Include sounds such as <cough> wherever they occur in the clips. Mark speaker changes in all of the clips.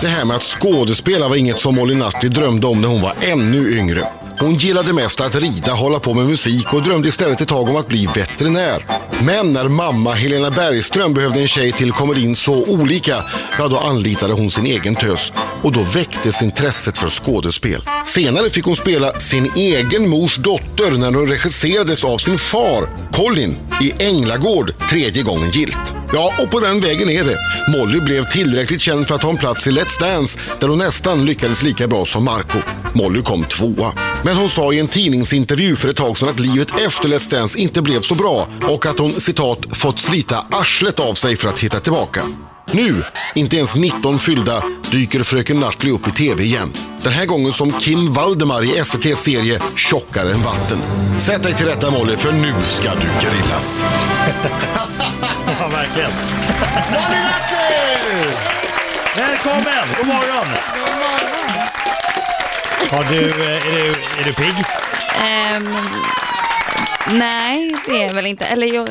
Speaker 1: Det här med att skådespela var inget som Molly Nutley drömde om när hon var ännu yngre. Hon gillade mest att rida, hålla på med musik och drömde istället ett tag om att bli veterinär. Men när mamma Helena Bergström behövde en tjej till komedin så olika, ja då anlitade hon sin egen tös. Och då väcktes intresset för skådespel. Senare fick hon spela sin egen mors dotter när hon regisserades av sin far, Colin, i Änglagård tredje gången gilt. Ja, och på den vägen är det. Molly blev tillräckligt känd för att ha en plats i Let's Dance där hon nästan lyckades lika bra som Marco. Molly kom tvåa. Men hon sa i en tidningsintervju för ett tag sedan att livet efter Let's Dance inte blev så bra och att hon citat fått slita arslet av sig för att hitta tillbaka. Nu, inte ens 19 fyllda, dyker fröken Nutley upp i tv igen. Den här gången som Kim Valdemar i SVTs serie Tjockare än vatten. Sätt dig till rätta Molly, för nu ska du grillas.
Speaker 2: Ja, verkligen. Välkommen! God morgon! Har du, eh, är, du, är du pigg?
Speaker 3: Ehm, nej, det är väl inte. Eller jo,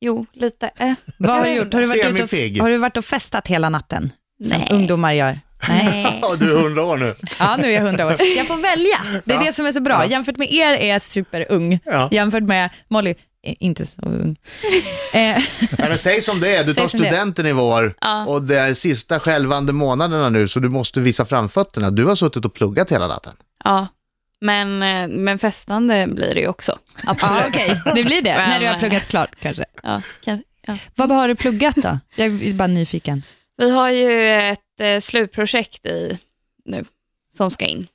Speaker 3: jo lite. Eh,
Speaker 4: Vad har du gjort? Har du varit, ute
Speaker 5: Semifig.
Speaker 4: och, har du varit och festat hela natten? Som
Speaker 3: Nej.
Speaker 4: ungdomar gör. Nej.
Speaker 3: nej.
Speaker 5: <laughs> Ja, du är hundra år nu.
Speaker 4: Ja, nu är jag hundra år. Jag får välja. Det är det som är så bra. Jämfört med er är jag superung.
Speaker 5: Ja.
Speaker 4: Jämfört med Molly, eh, inte så <laughs> ung. Eh,
Speaker 5: Nej, men säg som det är, du tar
Speaker 4: Säg som det är.
Speaker 5: studenten i vår
Speaker 3: Ja.
Speaker 5: och det är sista skälvande månaderna nu så du måste visa framfötterna. Du har suttit och pluggat hela natten.
Speaker 3: Ja, men, eh, men festande blir det ju också.
Speaker 4: ja,
Speaker 3: Absolut.
Speaker 4: okej. Det blir det.
Speaker 3: Men-
Speaker 4: När du har pluggat klart kanske.
Speaker 3: Ja, kan, ja.
Speaker 4: Vad har du pluggat då? Jag är bara nyfiken.
Speaker 3: Vi har ju ett eh, slutprojekt i nu som ska in.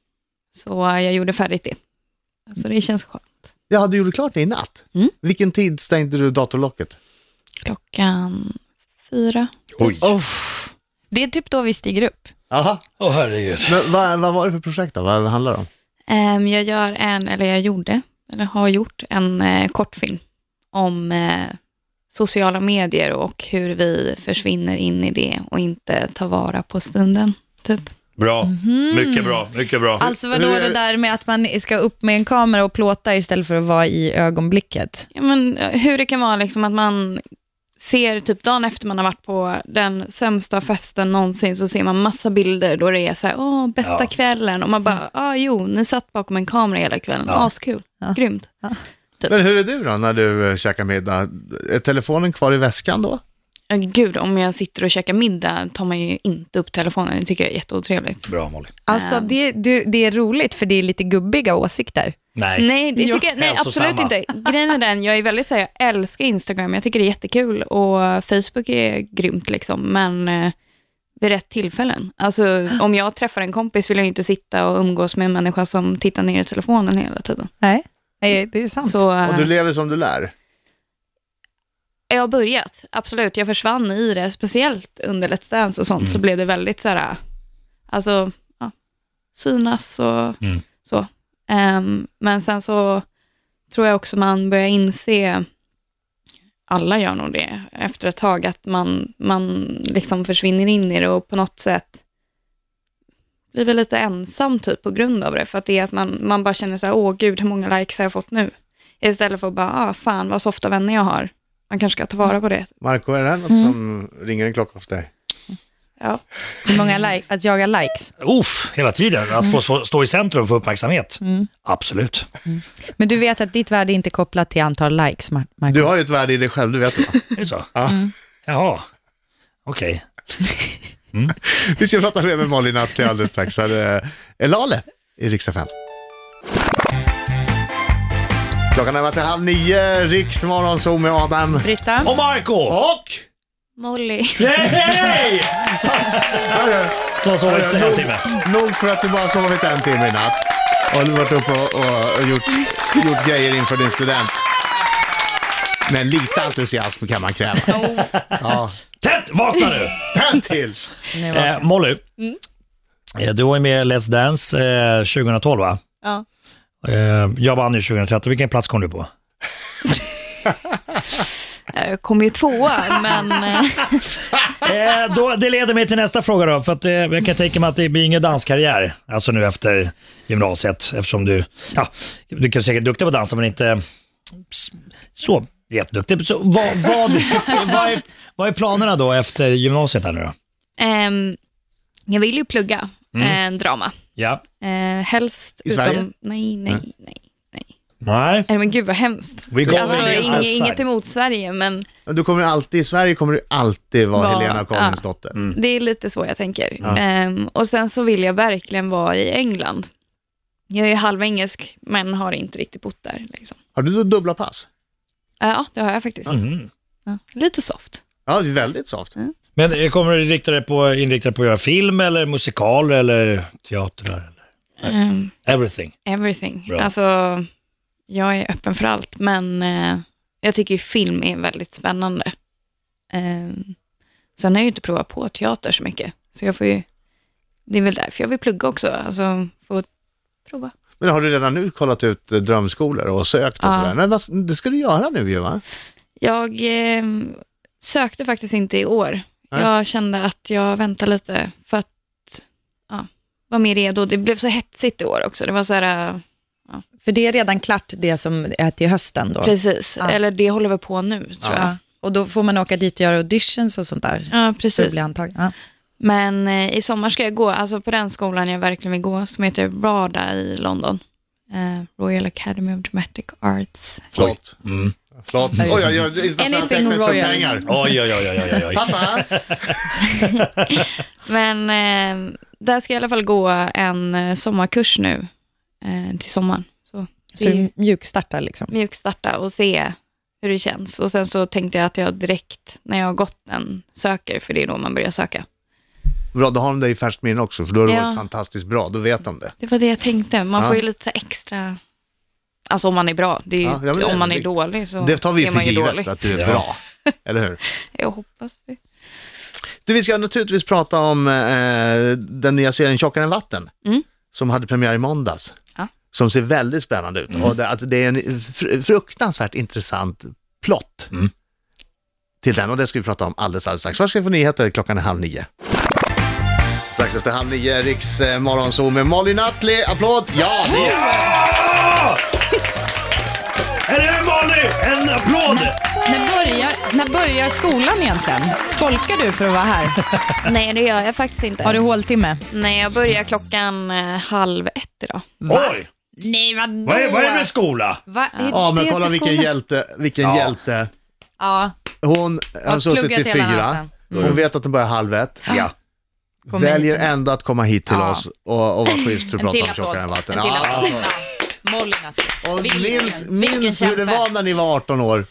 Speaker 3: Så eh, jag gjorde färdigt det. Så det känns skönt.
Speaker 5: Jaha, du gjorde klart det i natt?
Speaker 3: Mm.
Speaker 5: Vilken tid stängde du datorlocket?
Speaker 3: Klockan fyra.
Speaker 6: Oj.
Speaker 4: Uff. Det är typ då vi stiger upp.
Speaker 5: Aha.
Speaker 6: Åh herregud.
Speaker 5: Men vad, vad var det för projekt då? Vad handlar det om?
Speaker 3: Ehm, jag gör en, eller jag gjorde, eller har gjort en eh, kortfilm om eh, sociala medier och hur vi försvinner in i det och inte tar vara på stunden. Typ.
Speaker 6: Bra. Mycket bra. Mycket bra.
Speaker 4: Alltså vadå
Speaker 5: hur är-
Speaker 4: det där med att man ska upp med en kamera och plåta istället för att vara i ögonblicket?
Speaker 3: Ja, men, eh, hur det kan vara liksom att man ser typ dagen efter man har varit på den sämsta festen någonsin så ser man massa bilder då det är så här, åh, bästa
Speaker 6: Ja.
Speaker 3: kvällen och man bara, ah, jo, ni satt bakom en kamera hela kvällen,
Speaker 6: Ja.
Speaker 3: askul, grymt.
Speaker 5: Men hur är du då när du eh, käkar middag? Är telefonen kvar i väskan då?
Speaker 3: Ja, Gud, om jag sitter och käkar middag tar man ju inte upp telefonen. Det tycker jag är jätteotrevligt.
Speaker 6: Bra Molly.
Speaker 4: Alltså det, du, det är roligt för det är lite gubbiga åsikter.
Speaker 6: Nej.
Speaker 3: Nej, det tycker jag, nej
Speaker 6: Hälsosamma.
Speaker 3: absolut inte. Grejen är den, jag är väldigt så här, jag älskar Instagram, jag tycker det är jättekul och Facebook är grymt liksom, men eh, vid rätt tillfällen. Alltså om jag träffar en kompis vill jag ju inte sitta och umgås med en människa som tittar ner i telefonen hela tiden.
Speaker 4: Nej, Mm. Nej, det är sant.
Speaker 3: Så eh,
Speaker 5: Och du lever som du lär?
Speaker 3: jag har börjat, absolut, jag försvann i det, speciellt under Let's Dance och sånt, så blev det väldigt så här, alltså, ja, synas och
Speaker 6: Mm.
Speaker 3: så. Ehm, men sen så tror jag också man börjar inse, alla gör nog det efter ett tag, att man, man liksom försvinner in i det och på något sätt blir väl lite ensam typ på grund av det, för att det är att man, man bara känner så här, åh gud, hur många likes har jag fått nu? Istället för att bara, ah, fan vad softa vänner jag har. Man kanske ska ta vara på det.
Speaker 5: Marco, är det här något
Speaker 4: Mm.
Speaker 5: som ringer en klocka hos dig?
Speaker 3: Ja.
Speaker 4: Hur många like, att jaga likes.
Speaker 6: Uff, hela tiden. Att få stå- stå i centrum för uppmärksamhet. Absolut.
Speaker 4: Men du vet att ditt värde är inte kopplat till antal likes, Mar- Marco.
Speaker 5: Du har ju ett värde i dig själv, du vet det va?
Speaker 6: Är det så?
Speaker 5: Ja.
Speaker 6: Jaha. Okej.
Speaker 5: Vi ska prata mer med Malin Attli alldeles strax. Här är Lale i Rix FM. Klockan närmar sig halv nio, Riks morgonzoo med Adam
Speaker 4: Britta?
Speaker 6: Och Marco!
Speaker 5: och...
Speaker 3: Molly.
Speaker 6: Yay! Så sov inte en timme.
Speaker 5: Nog för att du bara sovit en timme i natt. Och du varit uppe och, och, och gjort, gjort grejer inför din student. Men lite entusiasm kan man kräva. Ja,
Speaker 6: Tätt! Vakna nu!
Speaker 5: tänd till!
Speaker 4: Nu var-
Speaker 6: Eh, Molly, eh, du var ju med i Let's Dance eh, 2012 va?
Speaker 3: Ja.
Speaker 6: Eh, jag vann ju 2013. Vilken plats kom du på?
Speaker 3: Jag kom ju tvåa, men eh,
Speaker 6: Eh, då, det leder mig till nästa fråga då. För att, eh, jag kan tänka mig att det blir ingen danskarriär, alltså nu efter gymnasiet. Eftersom du, ja, du kan säkert duktig på att dansa men inte s- så jätteduktig. Så, vad, <laughs> vad, vad, är, vad är planerna då efter gymnasiet här nu då?
Speaker 3: ehm, Jag vill ju plugga eh, drama.
Speaker 6: Ja.
Speaker 3: Eh, helst
Speaker 5: Mm. I Sverige?
Speaker 3: utom... Nej, nej, nej.
Speaker 6: Nej.
Speaker 3: Nej, men gud vad hemskt.
Speaker 6: We go
Speaker 3: Alltså,
Speaker 5: det är
Speaker 3: inget,
Speaker 5: sant.
Speaker 3: inget emot Sverige, men
Speaker 5: Men Du kommer alltid, I Sverige kommer du alltid vara
Speaker 3: Vara-
Speaker 5: Helena Karlinsdotter.
Speaker 3: det är lite så jag tänker. Ehm, och sen så vill jag verkligen vara i England. Jag är ju halvengelsk, men har inte riktigt bott där. Liksom.
Speaker 5: Har du då dubbla pass?
Speaker 3: Eh, Ja, det har jag faktiskt.
Speaker 5: Mm.
Speaker 6: Mhm.
Speaker 3: Ja. Lite soft.
Speaker 5: Ja, det är väldigt soft.
Speaker 6: Men eh, kommer du inrikta dig på, inrikta dig på att göra film eller musikaler eller teater? Eller?
Speaker 3: Ehm,
Speaker 6: Everything.
Speaker 3: everything.
Speaker 6: Bra.
Speaker 3: Alltså, jag är öppen för allt, men eh, jag tycker ju film är väldigt spännande. Ehm, sen har jag ju inte provat på teater så mycket, så jag får ju... Det är väl därför jag vill plugga också, alltså få prova.
Speaker 5: Men har du redan nu kollat ut eh, drömskolor och sökt och
Speaker 3: Ja.
Speaker 5: sådär? Men vad, det ska du göra nu ju va?
Speaker 3: Jag eh, sökte faktiskt inte i år.
Speaker 5: Nej.
Speaker 3: Jag kände att jag väntar lite för att ja, vara mer redo. Det blev så hetsigt i år också. Det var så här, eh,
Speaker 4: För det är redan klart det som är till hösten då.
Speaker 3: precis,
Speaker 4: Ja.
Speaker 3: eller det håller vi på nu tror jag.
Speaker 4: Ja. Och då får man åka dit och göra auditions och sånt där.
Speaker 3: Ja,
Speaker 4: Så det
Speaker 3: precis.
Speaker 4: blir antagen. Ja.
Speaker 3: Men eh, i sommar ska jag gå, alltså på den skolan jag verkligen vill gå, som heter RADA i London. Eh, Royal Academy of Dramatic Arts.
Speaker 5: Flott.
Speaker 6: Mm.
Speaker 5: Flott. Oj, oj, oj. det är internationella
Speaker 4: Anything
Speaker 5: tecknet som
Speaker 4: royal.
Speaker 5: pengar.
Speaker 6: Oj, oj, oj, oj, oj, oj.
Speaker 5: Pappa!
Speaker 3: Men eh, där ska jag i alla fall gå en eh, sommarkurs nu eh, till sommaren. Så
Speaker 4: Så du mjukstartar liksom.
Speaker 3: mjukstarta och se hur det känns. Och sen så tänkte jag att jag direkt, när jag har gått den, söker, för det är då man börjar söka.
Speaker 5: Bra, då har de dig i färskt minne också, för då har du
Speaker 3: Ja.
Speaker 5: varit fantastiskt bra. Då vet de det.
Speaker 3: Det var det jag tänkte. Man
Speaker 5: Ja.
Speaker 3: får ju lite så här extra... Alltså om man är bra. Det är ju,
Speaker 5: Ja, ja, men det-
Speaker 3: om man är
Speaker 5: det-
Speaker 3: dålig så
Speaker 5: Det tar vi
Speaker 3: är
Speaker 5: för
Speaker 3: man ju
Speaker 5: givet,
Speaker 3: dålig.
Speaker 5: att du är
Speaker 6: Ja.
Speaker 5: bra. Eller hur?
Speaker 3: Jag hoppas det.
Speaker 5: Du, vi ska naturligtvis prata om eh, den nya serien Tjockare än vatten,
Speaker 3: Mm.
Speaker 5: som hade premiär i måndags.
Speaker 3: Ja.
Speaker 5: Som ser väldigt spännande ut.
Speaker 4: Mm.
Speaker 5: Och det, alltså, det är en fr- fruktansvärt intressant plott
Speaker 6: Mm.
Speaker 5: till den och det ska vi prata om alldeles, alldeles strax. Först ska vi få nyheter, klockan är halv nio. Strax efter halv nio, Riks eh, morgonzoo med Malin Atli. Applåd! Ja, det är...
Speaker 6: Är det Molly? En applåd!
Speaker 4: När börjar, när börjar skolan egentligen? Skolkar du för att vara här?
Speaker 3: Nej, det gör jag faktiskt inte.
Speaker 4: Har du håltimme?
Speaker 3: Nej, jag börjar klockan eh, halv ett idag.
Speaker 6: Oj!
Speaker 4: Nej, vadå?
Speaker 6: Vad är, vad är det med skola?
Speaker 4: Vad är
Speaker 5: Ja, men
Speaker 4: det
Speaker 5: kolla
Speaker 4: för
Speaker 5: vilken
Speaker 4: skola?
Speaker 5: hjälte, vilken
Speaker 6: Ja.
Speaker 5: hjälte.
Speaker 4: Ja,
Speaker 5: Hon har suttit
Speaker 4: pluggat
Speaker 5: till
Speaker 4: hela
Speaker 5: fyra.
Speaker 4: natten.
Speaker 5: Hon vet att den börjar halv ett.
Speaker 6: Ja.
Speaker 4: Kom
Speaker 5: Väljer
Speaker 4: hit.
Speaker 5: ändå att komma hit till
Speaker 4: Ja.
Speaker 5: oss och, och vara schysst och
Speaker 4: en
Speaker 5: prata
Speaker 4: till
Speaker 5: om tjockare än
Speaker 4: applåd.
Speaker 5: vatten.
Speaker 4: En till
Speaker 5: Ja.
Speaker 4: applåd. Ja. Molly Natti.
Speaker 5: Och
Speaker 4: Vilken-
Speaker 5: minns
Speaker 4: vilken
Speaker 5: minns hur det
Speaker 4: kämpe.
Speaker 5: var när ni var 18 år.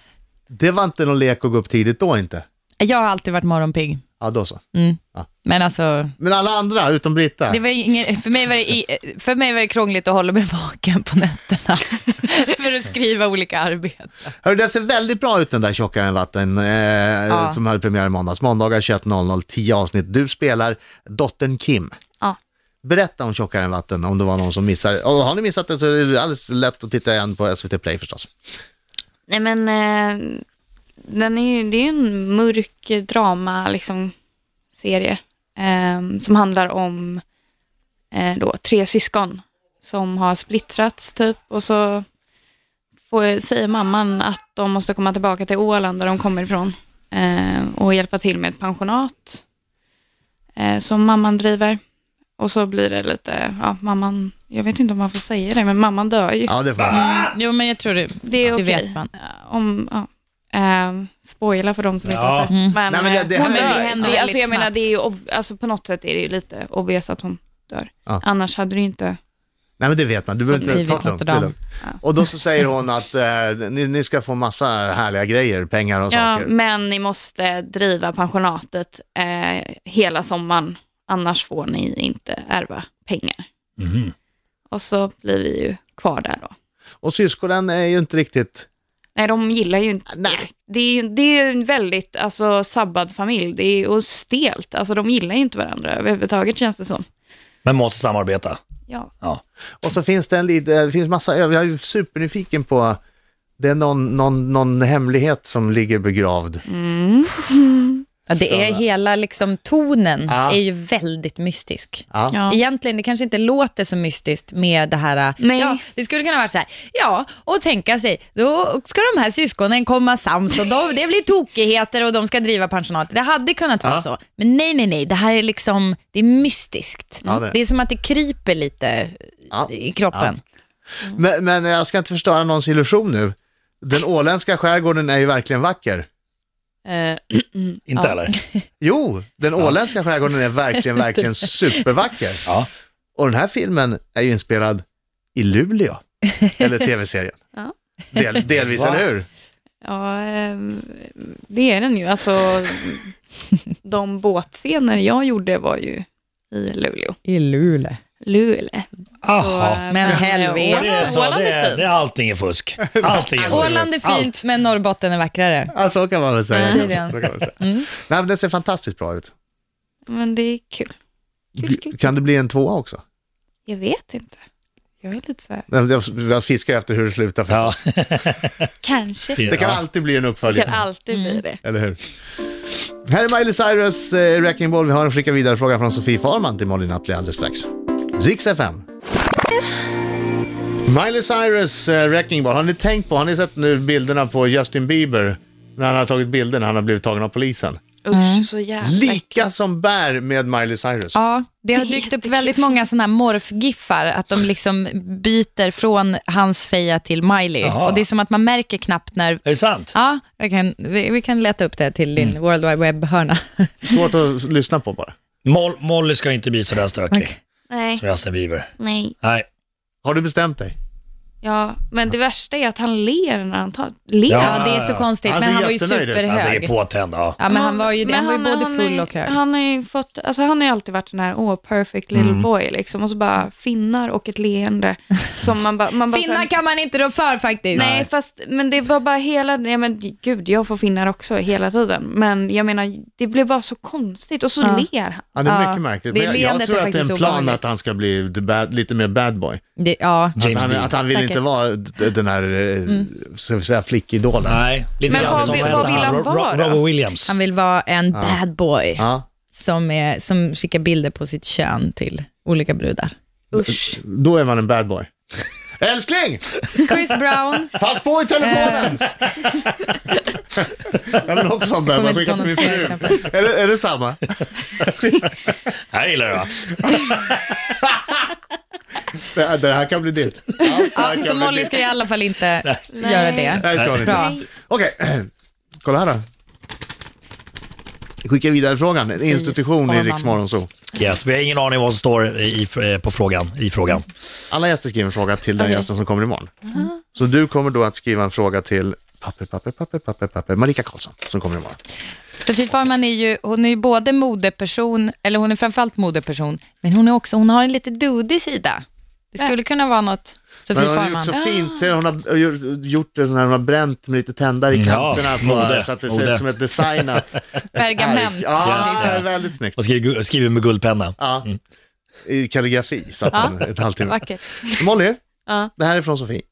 Speaker 5: Det var inte någon lek att gå upp tidigt då inte.
Speaker 4: Jag har alltid varit morgonpigg.
Speaker 5: Ja, då så.
Speaker 4: Men alltså,
Speaker 5: Men alla andra, utom Britta.
Speaker 4: Mm. det var inget, för, mig var det, i- för mig var det krångligt att hålla mig vaken på nätterna <laughs> för att skriva olika arbeten.
Speaker 5: Hörru, det ser väldigt bra ut den där tjockare än vatten eh, som hade premiär i måndags. Måndagar 21.00, 10 avsnitt. Du spelar dottern Kim.
Speaker 3: Ja.
Speaker 5: Berätta om tjockare än vatten om det var någon som missar. Och har ni missat det så är det alldeles lätt att titta igen på SVT Play förstås.
Speaker 3: Nej, men eh, den är ju, det är ju en mörk drama, liksom, serie eh, som handlar om eh, då, tre syskon som har splittrats typ och så får, säger mamman att de måste komma tillbaka till Åland där de kommer ifrån eh, och hjälpa till med ett pensionat eh, som mamman driver. Och så blir det lite, ja mamman, jag vet inte om man får säga det, men mamman dör ju.
Speaker 5: Ja, det får man säga.
Speaker 4: Jo, men jag tror det.
Speaker 3: Det är
Speaker 4: Det
Speaker 3: okej.
Speaker 4: vet man.
Speaker 3: Om, ja. Eh, spoila för de som inte
Speaker 6: Ja.
Speaker 3: har sett. Men,
Speaker 5: Nej, men det- det
Speaker 3: eh,
Speaker 5: här
Speaker 3: hon
Speaker 5: är-
Speaker 3: dör.
Speaker 4: händer
Speaker 3: Det- alltså,
Speaker 4: väldigt
Speaker 3: jag menar,
Speaker 4: snabbt.
Speaker 3: det är ju ob- alltså, på något sätt är det ju lite obvious att hon dör.
Speaker 5: Ja.
Speaker 3: Annars hade det ju inte...
Speaker 5: Nej men det vet man, du behöver
Speaker 4: Livet
Speaker 5: inte ta det lugnt.
Speaker 4: åter
Speaker 5: Det är
Speaker 4: dem.
Speaker 5: lugnt. Och då så säger hon att eh, ni, ni ska få massa härliga grejer, pengar och
Speaker 3: Ja,
Speaker 5: saker.
Speaker 3: men ni måste driva pensionatet eh, hela sommaren. Annars får ni inte ärva pengar. Och så blir vi ju kvar där då.
Speaker 5: Och syskonen är ju inte riktigt...
Speaker 3: Nej, de gillar ju inte
Speaker 5: Nej.
Speaker 3: det. Är ju, det är ju en väldigt alltså, sabbad familj det är, och stelt. Alltså, de gillar ju inte varandra överhuvudtaget känns det som.
Speaker 6: Men måste samarbeta.
Speaker 3: Ja.
Speaker 5: Och så finns det en liten, det finns massa, jag är ju supernyfiken på, det är någon, någon, någon hemlighet som ligger begravd.
Speaker 4: Ja, det är hela liksom, tonen
Speaker 5: Ja.
Speaker 4: är ju väldigt mystisk.
Speaker 5: Ja.
Speaker 3: Ja.
Speaker 4: Egentligen, det kanske inte låter så mystiskt med det här, äh,
Speaker 3: Nej.
Speaker 4: ja, det skulle kunna vara så här, ja, och tänka sig, då ska de här syskonen komma sams och då, det blir tokigheter och de ska driva pensionat. Det hade kunnat vara
Speaker 5: Ja.
Speaker 4: så, men nej, nej, nej, det här är liksom, det är mystiskt.
Speaker 5: Ja, det
Speaker 4: det.
Speaker 5: är.
Speaker 4: är som att det kryper lite
Speaker 5: Ja.
Speaker 4: i kroppen.
Speaker 5: Men, men jag ska inte förstöra någons illusion nu. Den åländska skärgården är ju verkligen vacker.
Speaker 3: Eh,
Speaker 6: Inte
Speaker 3: Ja.
Speaker 6: heller.
Speaker 5: Jo, den åländska skärgården är
Speaker 3: <laughs>
Speaker 5: verkligen, verkligen supervacker.
Speaker 6: Ja.
Speaker 5: Och den här filmen är ju inspelad i Luleå, eller tv-serien.
Speaker 3: Ja.
Speaker 5: Del, delvis,
Speaker 6: Va?
Speaker 5: eller hur?
Speaker 3: ja, eh, det är den ju.
Speaker 4: <laughs>
Speaker 3: Alltså, de båtscener jag gjorde var ju i Luleå.
Speaker 4: I Luleå.
Speaker 3: Luleå.
Speaker 6: Aha.
Speaker 3: Så,
Speaker 4: Men
Speaker 3: eh,
Speaker 4: helvete.
Speaker 6: Det är, så,
Speaker 3: Åland
Speaker 6: det,
Speaker 3: är
Speaker 6: är,
Speaker 3: fint.
Speaker 6: det är allting är
Speaker 3: <laughs>
Speaker 6: fusk. Allting är fusk.
Speaker 4: Åland är fint,
Speaker 6: Allt.
Speaker 4: men Norrbotten är vackrare.
Speaker 5: Ja, så kan man väl säga. Så
Speaker 4: Tydligen.
Speaker 5: kan man väl säga.
Speaker 4: Mm.
Speaker 5: Nej, men den ser fantastiskt bra ut.
Speaker 3: Men det är kul. Kul, kul.
Speaker 5: Kan det bli en tvåa också?
Speaker 3: Jag vet inte. Jag är lite så här,
Speaker 5: Jag- Jag jag fiskar efter hur det slutar
Speaker 6: Ja.
Speaker 5: förstås.
Speaker 3: kanske.
Speaker 5: Det kan
Speaker 6: Ja.
Speaker 5: alltid bli en
Speaker 3: Det
Speaker 5: uppföljare.
Speaker 3: kan alltid bli
Speaker 4: Mm.
Speaker 3: det.
Speaker 5: Eller hur? Här är Miley Cyrus, eh, Wrecking Ball. Vi har en skicka vidare-fråga från Sofie Farman till Malin Attli alldeles strax. Riks FM. Miley Cyrus, eh, Wrecking Ball. Har ni tänkt på, har ni sett nu bilderna på Justin Bieber? När han har tagit bilder när han har blivit tagen av polisen.
Speaker 4: Mm.
Speaker 3: Usch, så jävla
Speaker 5: Lika som bär med Miley Cyrus.
Speaker 4: Ja, det har
Speaker 3: Det är
Speaker 4: dykt upp
Speaker 3: jättekul.
Speaker 4: väldigt många sådana här morfgiffar, att de liksom byter från hans feja till Miley.
Speaker 6: Jaha.
Speaker 4: Och det är som att man märker knappt när...
Speaker 6: Är det sant?
Speaker 4: Ja, jag kan, vi, vi kan leta upp det till din World Wide Web-hörna.
Speaker 5: Svårt att lyssna på bara.
Speaker 6: Mol- Molly ska inte bli sådär stökig
Speaker 4: Okej.
Speaker 3: Nej,
Speaker 6: som Justin Bieber.
Speaker 3: nej.
Speaker 6: Nej.
Speaker 5: Har du bestämt dig?
Speaker 3: Ja, men det värsta är att han ler när han tar... Ler?
Speaker 6: Ja.
Speaker 4: <laughs> Ja, det är så konstigt,
Speaker 5: Han ser
Speaker 4: men han var ju
Speaker 5: jättenöjd ut.
Speaker 6: Han ser
Speaker 4: superhög.
Speaker 6: påtänd. Ja.
Speaker 4: Ja, men han var ju, det.
Speaker 3: men
Speaker 4: Han var ju
Speaker 3: han-
Speaker 4: både
Speaker 3: han
Speaker 4: full
Speaker 3: är-
Speaker 4: och hög.
Speaker 3: Han har ju fått, alltså han har ju alltid varit den här, åh, perfect little boy liksom. Och så bara finnar och ett
Speaker 4: <laughs>
Speaker 3: leende. Som man bara... Man bara så
Speaker 4: Finnar
Speaker 3: här-
Speaker 4: kan man inte rå för faktiskt.
Speaker 3: Nej, fast, men det var bara hela, nej men gud, jag får finnar också hela tiden. Men jag menar, det blev bara så konstigt. Och så
Speaker 4: Ja.
Speaker 3: ler han.
Speaker 5: Ja, det är
Speaker 4: Ja,
Speaker 5: mycket märkligt.
Speaker 4: det
Speaker 5: Men jag, jag
Speaker 4: leendet
Speaker 5: tror
Speaker 4: är
Speaker 5: att det är en
Speaker 4: faktiskt
Speaker 5: plan
Speaker 4: obehagligt.
Speaker 5: att han ska bli the bad, lite mer bad boy.
Speaker 4: Det, ja.
Speaker 5: Att
Speaker 6: James
Speaker 5: han,
Speaker 6: Dean.
Speaker 5: att han vill
Speaker 4: Säkert. Mm.
Speaker 5: inte vara d- den här, eh, ska vi säga, flickidolen.
Speaker 6: Nej, lite
Speaker 3: Men
Speaker 6: grann
Speaker 3: vad
Speaker 6: som
Speaker 3: vill-
Speaker 6: hände
Speaker 3: vad vill han
Speaker 6: Ro- Ro-
Speaker 3: vara då?
Speaker 6: Robert Williams.
Speaker 4: Han vill vara en bad boy
Speaker 5: Ja.
Speaker 4: som, är, som skickar bilder på sitt kön till olika brudar.
Speaker 3: Usch.
Speaker 5: Då är man en bad boy. Älskling!
Speaker 4: Chris Brown,
Speaker 5: Pass på i telefonen!
Speaker 4: Eh.
Speaker 5: jag vill också vara en
Speaker 4: Kommer inte
Speaker 5: bad boy. Skicka
Speaker 4: på
Speaker 5: till min
Speaker 4: något
Speaker 5: fru.
Speaker 4: exempel.
Speaker 5: Är det, är det samma?
Speaker 6: Här gillar jag.
Speaker 5: Det, här- det här kan bli ditt. Ja, det här kan
Speaker 4: så
Speaker 5: bli
Speaker 4: Molly
Speaker 5: ditt.
Speaker 4: ska i alla fall inte göra det.
Speaker 5: Nej, det ska hon inte.
Speaker 4: Bra.
Speaker 3: Nej.
Speaker 5: Okej, <clears throat> kolla här då. Skicka vidare frågan. En institution i
Speaker 4: Farman.
Speaker 5: Rix Morgonzoo.
Speaker 6: Yes, vi har ingen aning vad som står i, i- på frågan, i frågan.
Speaker 5: Alla gäster skriver en fråga till den
Speaker 4: Okej. Mm.
Speaker 5: gästen som kommer imorgon. Så du kommer då att skriva en fråga till papper, papper, papper, papper, papper, Marika Karlsson som kommer imorgon.
Speaker 4: Sofie Farman är ju, hon är ju både modeperson, eller hon är framförallt modeperson, men hon, är också, hon har en lite dudig sida. Det skulle kunna vara något, Sofie
Speaker 5: Men hon har gjort
Speaker 4: Farman.
Speaker 5: så fint,
Speaker 4: Ah.
Speaker 5: ser du, hon har gjort- gjort det sån här, hon har bränt med lite tändare i
Speaker 6: Mm, ja,
Speaker 5: kanterna på,
Speaker 6: mode,
Speaker 5: så att det ser
Speaker 6: mode.
Speaker 5: ut som
Speaker 4: <laughs>
Speaker 5: ett designat
Speaker 4: Pergament.
Speaker 5: Ja,
Speaker 6: Ja. Mm.
Speaker 5: det är väldigt snyggt.
Speaker 6: Och skriver, gu- skriver med guldpenna.
Speaker 5: Ja. I kalligrafi satt
Speaker 4: Ja.
Speaker 5: hon en halvtimme.
Speaker 4: Vackert.
Speaker 5: Molly,
Speaker 3: Ja.
Speaker 5: det här är från Sofie.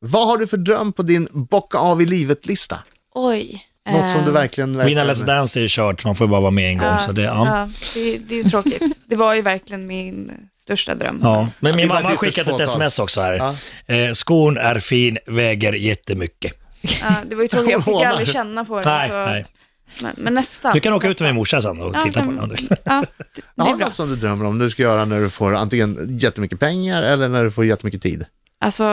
Speaker 5: Vad har du för dröm på din bocka av i livet-lista?
Speaker 3: Oj.
Speaker 5: Något som du
Speaker 3: Eh,
Speaker 5: verkligen...
Speaker 6: Winna
Speaker 5: verkligen...
Speaker 6: Let's Dance är ju kört, man får bara vara med en gång.
Speaker 3: Ja,
Speaker 6: Så det, ja.
Speaker 3: ja, det, det är ju tråkigt. Det var ju verkligen min största dröm.
Speaker 6: Ja. Men
Speaker 5: Ja, det
Speaker 6: min
Speaker 5: var
Speaker 6: mamma
Speaker 5: ett
Speaker 6: har
Speaker 5: ytterst
Speaker 6: skickat ett
Speaker 5: fåtal.
Speaker 6: sms också här.
Speaker 5: Ja.
Speaker 6: Eh, skon är fin, väger jättemycket.
Speaker 3: Ja, det var ju tråkigt, jag fick ju aldrig känna på det.
Speaker 6: Nej,
Speaker 3: så,
Speaker 6: nej.
Speaker 3: Men, men nästan.
Speaker 6: Du kan åka ut med min morsa
Speaker 3: nästan.
Speaker 6: sen och
Speaker 3: Ja,
Speaker 6: titta på
Speaker 3: men-
Speaker 6: den. om du- <laughs>
Speaker 3: Ja, det, det
Speaker 5: Har
Speaker 3: är
Speaker 5: du
Speaker 3: bra.
Speaker 5: något som du drömmer om du ska göra när du får antingen jättemycket pengar eller när du får jättemycket tid?
Speaker 3: Alltså,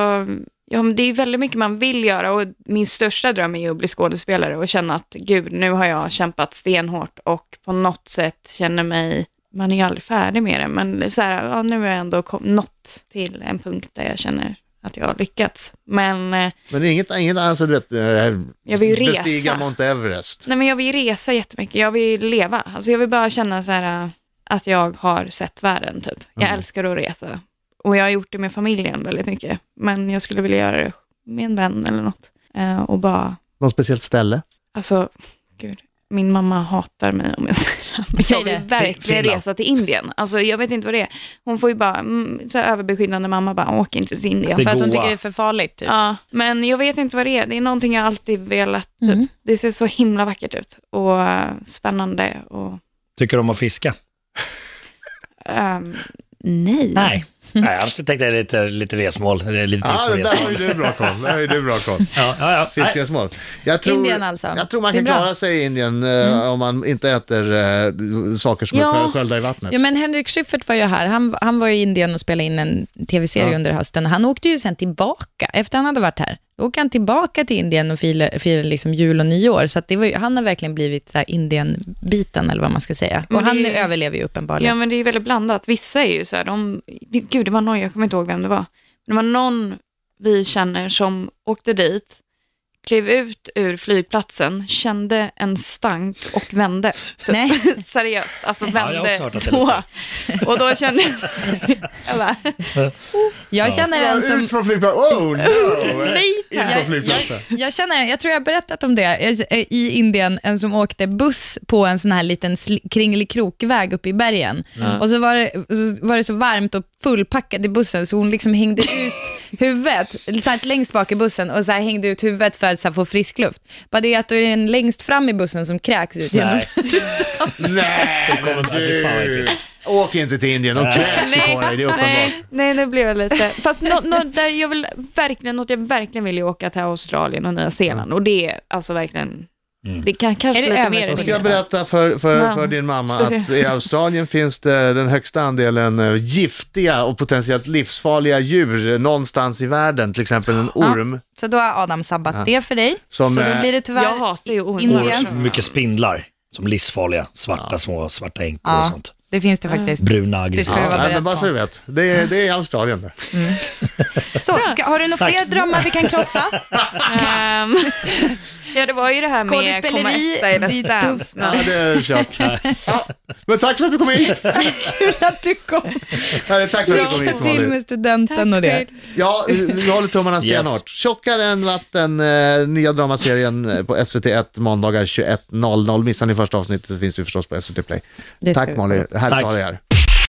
Speaker 3: ja, men det är ju väldigt mycket man vill göra och min största dröm är ju att bli skådespelare och känna att gud, nu har jag kämpat stenhårt och på något sätt känner mig, man är ju aldrig färdig med det, men så här, ja, nu har jag ändå kom, nått till en punkt där jag känner att jag har lyckats. Men eh,
Speaker 5: Men inget, inget alltså, du vet, eh,
Speaker 3: Jag vill ju
Speaker 5: bestiga
Speaker 3: resa.
Speaker 5: Mount Everest.
Speaker 3: Nej, men jag vill resa jättemycket. Jag vill leva. Alltså, jag vill bara känna så här, äh, att jag har sett världen. Typ. Jag älskar att resa. Och jag har gjort det med familjen väldigt mycket. Men jag skulle vilja göra det med en vän eller något. Eh, och bara,
Speaker 5: Något speciellt ställe?
Speaker 3: alltså, gud. Min mamma hatar mig om jag <laughs> säger det. Men
Speaker 4: Säg
Speaker 3: jag vill
Speaker 4: det.
Speaker 3: verkligen
Speaker 6: Finland.
Speaker 3: resa till Indien. Alltså, jag vet inte vad det är. Hon får ju bara, mm, så här överbeskyddande mamma bara, åk inte till Indien.
Speaker 6: Det
Speaker 4: För att hon
Speaker 6: goa.
Speaker 4: tycker det är för farligt, typ.
Speaker 3: Ja, men jag vet inte vad det är. Det är någonting jag alltid velat. Typ.
Speaker 4: Mm.
Speaker 3: Det ser så himla vackert ut och eh, spännande. Och,
Speaker 6: Tycker de om att fiska?
Speaker 3: ehm, nej.
Speaker 6: Nej. Nej, jag har alltid tänkt att det är lite, lite resmål. Det är lite
Speaker 5: Mm. Ja,
Speaker 6: turism och
Speaker 5: det där
Speaker 6: resmål.
Speaker 5: har ju du bra koll. Det har ju du bra
Speaker 3: <laughs>
Speaker 5: koll.
Speaker 6: Ja, ja, ja. Nej,
Speaker 5: Fiskens mål. Jag tror,
Speaker 4: Indien alltså.
Speaker 5: Jag tror man
Speaker 4: Det är
Speaker 5: kan
Speaker 4: bra.
Speaker 5: klara sig i Indien eh, om man inte äter eh, saker som
Speaker 3: Mm. Ja.
Speaker 5: är sköljda i vattnet.
Speaker 4: Ja, men Henrik Schyffert var ju här. Han, han var ju i Indien och spelade in en tv-serie under hösten. Han åkte ju sen tillbaka, efter han hade varit här. Då åkte han tillbaka till Indien och firade, firade liksom jul och nyår. Så att det var ju, han har verkligen blivit så här Indien-biten, eller vad man ska säga. Och
Speaker 3: Men det
Speaker 4: han
Speaker 3: är ju-
Speaker 4: överlever ju uppenbarligen.
Speaker 3: Ja, men det är ju väldigt blandat. Vissa är ju så här, de, gud det var någon, jag kommer inte ihåg vem det var. Men det var någon vi känner som åkte dit, klev ut ur flygplatsen, kände en stank och vände. Typ.
Speaker 4: Nej.
Speaker 3: <laughs> Seriöst, alltså
Speaker 6: jag har
Speaker 3: vände
Speaker 6: också hört att det
Speaker 3: då. Och då kände
Speaker 6: <laughs>
Speaker 3: jag, bara,
Speaker 4: Jag känner en
Speaker 5: Ja,
Speaker 4: som...
Speaker 5: Ut från flygplatsen.
Speaker 3: <laughs>
Speaker 5: Oh, no! In från
Speaker 4: Jag, jag,
Speaker 5: flygplatsen.
Speaker 4: jag, känner, jag tror jag har berättat om det Jag- eh, i Indien, en som åkte buss på en sån här liten sli- kringelikrokväg uppe i bergen. Och så var, det, så var det så varmt och fullpackat i bussen så hon liksom hängde
Speaker 5: <laughs>
Speaker 4: ut huvudet, satt längst bak i bussen och så här hängde ut huvudet för att så här få frisk luft. Bara det att då är det en längst fram i bussen som kräks ut genom...
Speaker 6: nej.
Speaker 5: Nej,
Speaker 6: Så kommer
Speaker 5: men
Speaker 6: det- fy fan vad
Speaker 5: du.
Speaker 6: äckligt.
Speaker 5: Åk inte till Indien, de kräks ju på dig, det är uppenbart.
Speaker 3: nej, nej, det blev jag lite. Fast nå nå där jag vill verkligen, något jag verkligen vill är åka till Australien och Nya Zeeland. Och det är alltså verkligen,
Speaker 5: Mm.
Speaker 3: det kan, kanske
Speaker 4: Är det
Speaker 3: lite mer.
Speaker 4: överflödigt?
Speaker 5: Då ska jag
Speaker 3: intressant.
Speaker 5: berätta för, för,
Speaker 3: Mamma.
Speaker 5: för din mamma
Speaker 3: Sorry.
Speaker 5: att i Australien finns det den högsta andelen eh, giftiga och potentiellt livsfarliga djur eh, någonstans i världen, till exempel en orm.
Speaker 4: Så då har Adam sabbat det för dig.
Speaker 5: Som,
Speaker 4: så då
Speaker 5: eh,
Speaker 4: blir det
Speaker 3: Jag
Speaker 4: tyvärr
Speaker 3: hatar ju ormar.
Speaker 4: Indien.
Speaker 6: Mycket spindlar. Som livsfarliga, svarta små, svarta änkor och
Speaker 4: Ja,
Speaker 6: sånt.
Speaker 4: det finns det
Speaker 5: Mm.
Speaker 4: faktiskt.
Speaker 6: Bruna,
Speaker 4: ska
Speaker 6: aggressiva.
Speaker 4: jag vara
Speaker 5: Nej,
Speaker 4: beredd
Speaker 5: men bara så
Speaker 4: på.
Speaker 5: du vet, det är, det är Australien det.
Speaker 4: Så, ska, har du några fler drömmar vi kan
Speaker 5: <laughs>
Speaker 4: krossa?
Speaker 3: Ehm, <laughs> ja, det var ju det här med komma
Speaker 4: Skådespeleri,
Speaker 3: etta i
Speaker 4: det är
Speaker 3: Let's Dance.
Speaker 4: tufft.
Speaker 5: Ja,
Speaker 3: Men,
Speaker 5: det
Speaker 4: <laughs>
Speaker 5: är kört. Ja, men tack för att du kom hit!
Speaker 4: Kul att du kom.
Speaker 5: Nej, tack för att du kom
Speaker 4: Lycka
Speaker 5: hit,
Speaker 4: till
Speaker 5: Molly.
Speaker 4: med studenten och det.
Speaker 5: Ja, vi håller tummarna stenhårt. Tjockare än vatten, eh, nya dramaserien eh, på SVT1 måndagar 21.00. Missar ni första avsnittet så finns det förstås på SVT Play.
Speaker 4: Det ska
Speaker 5: Tack
Speaker 4: vi
Speaker 5: Molly, härligt att
Speaker 6: Tack.
Speaker 5: ha dig här.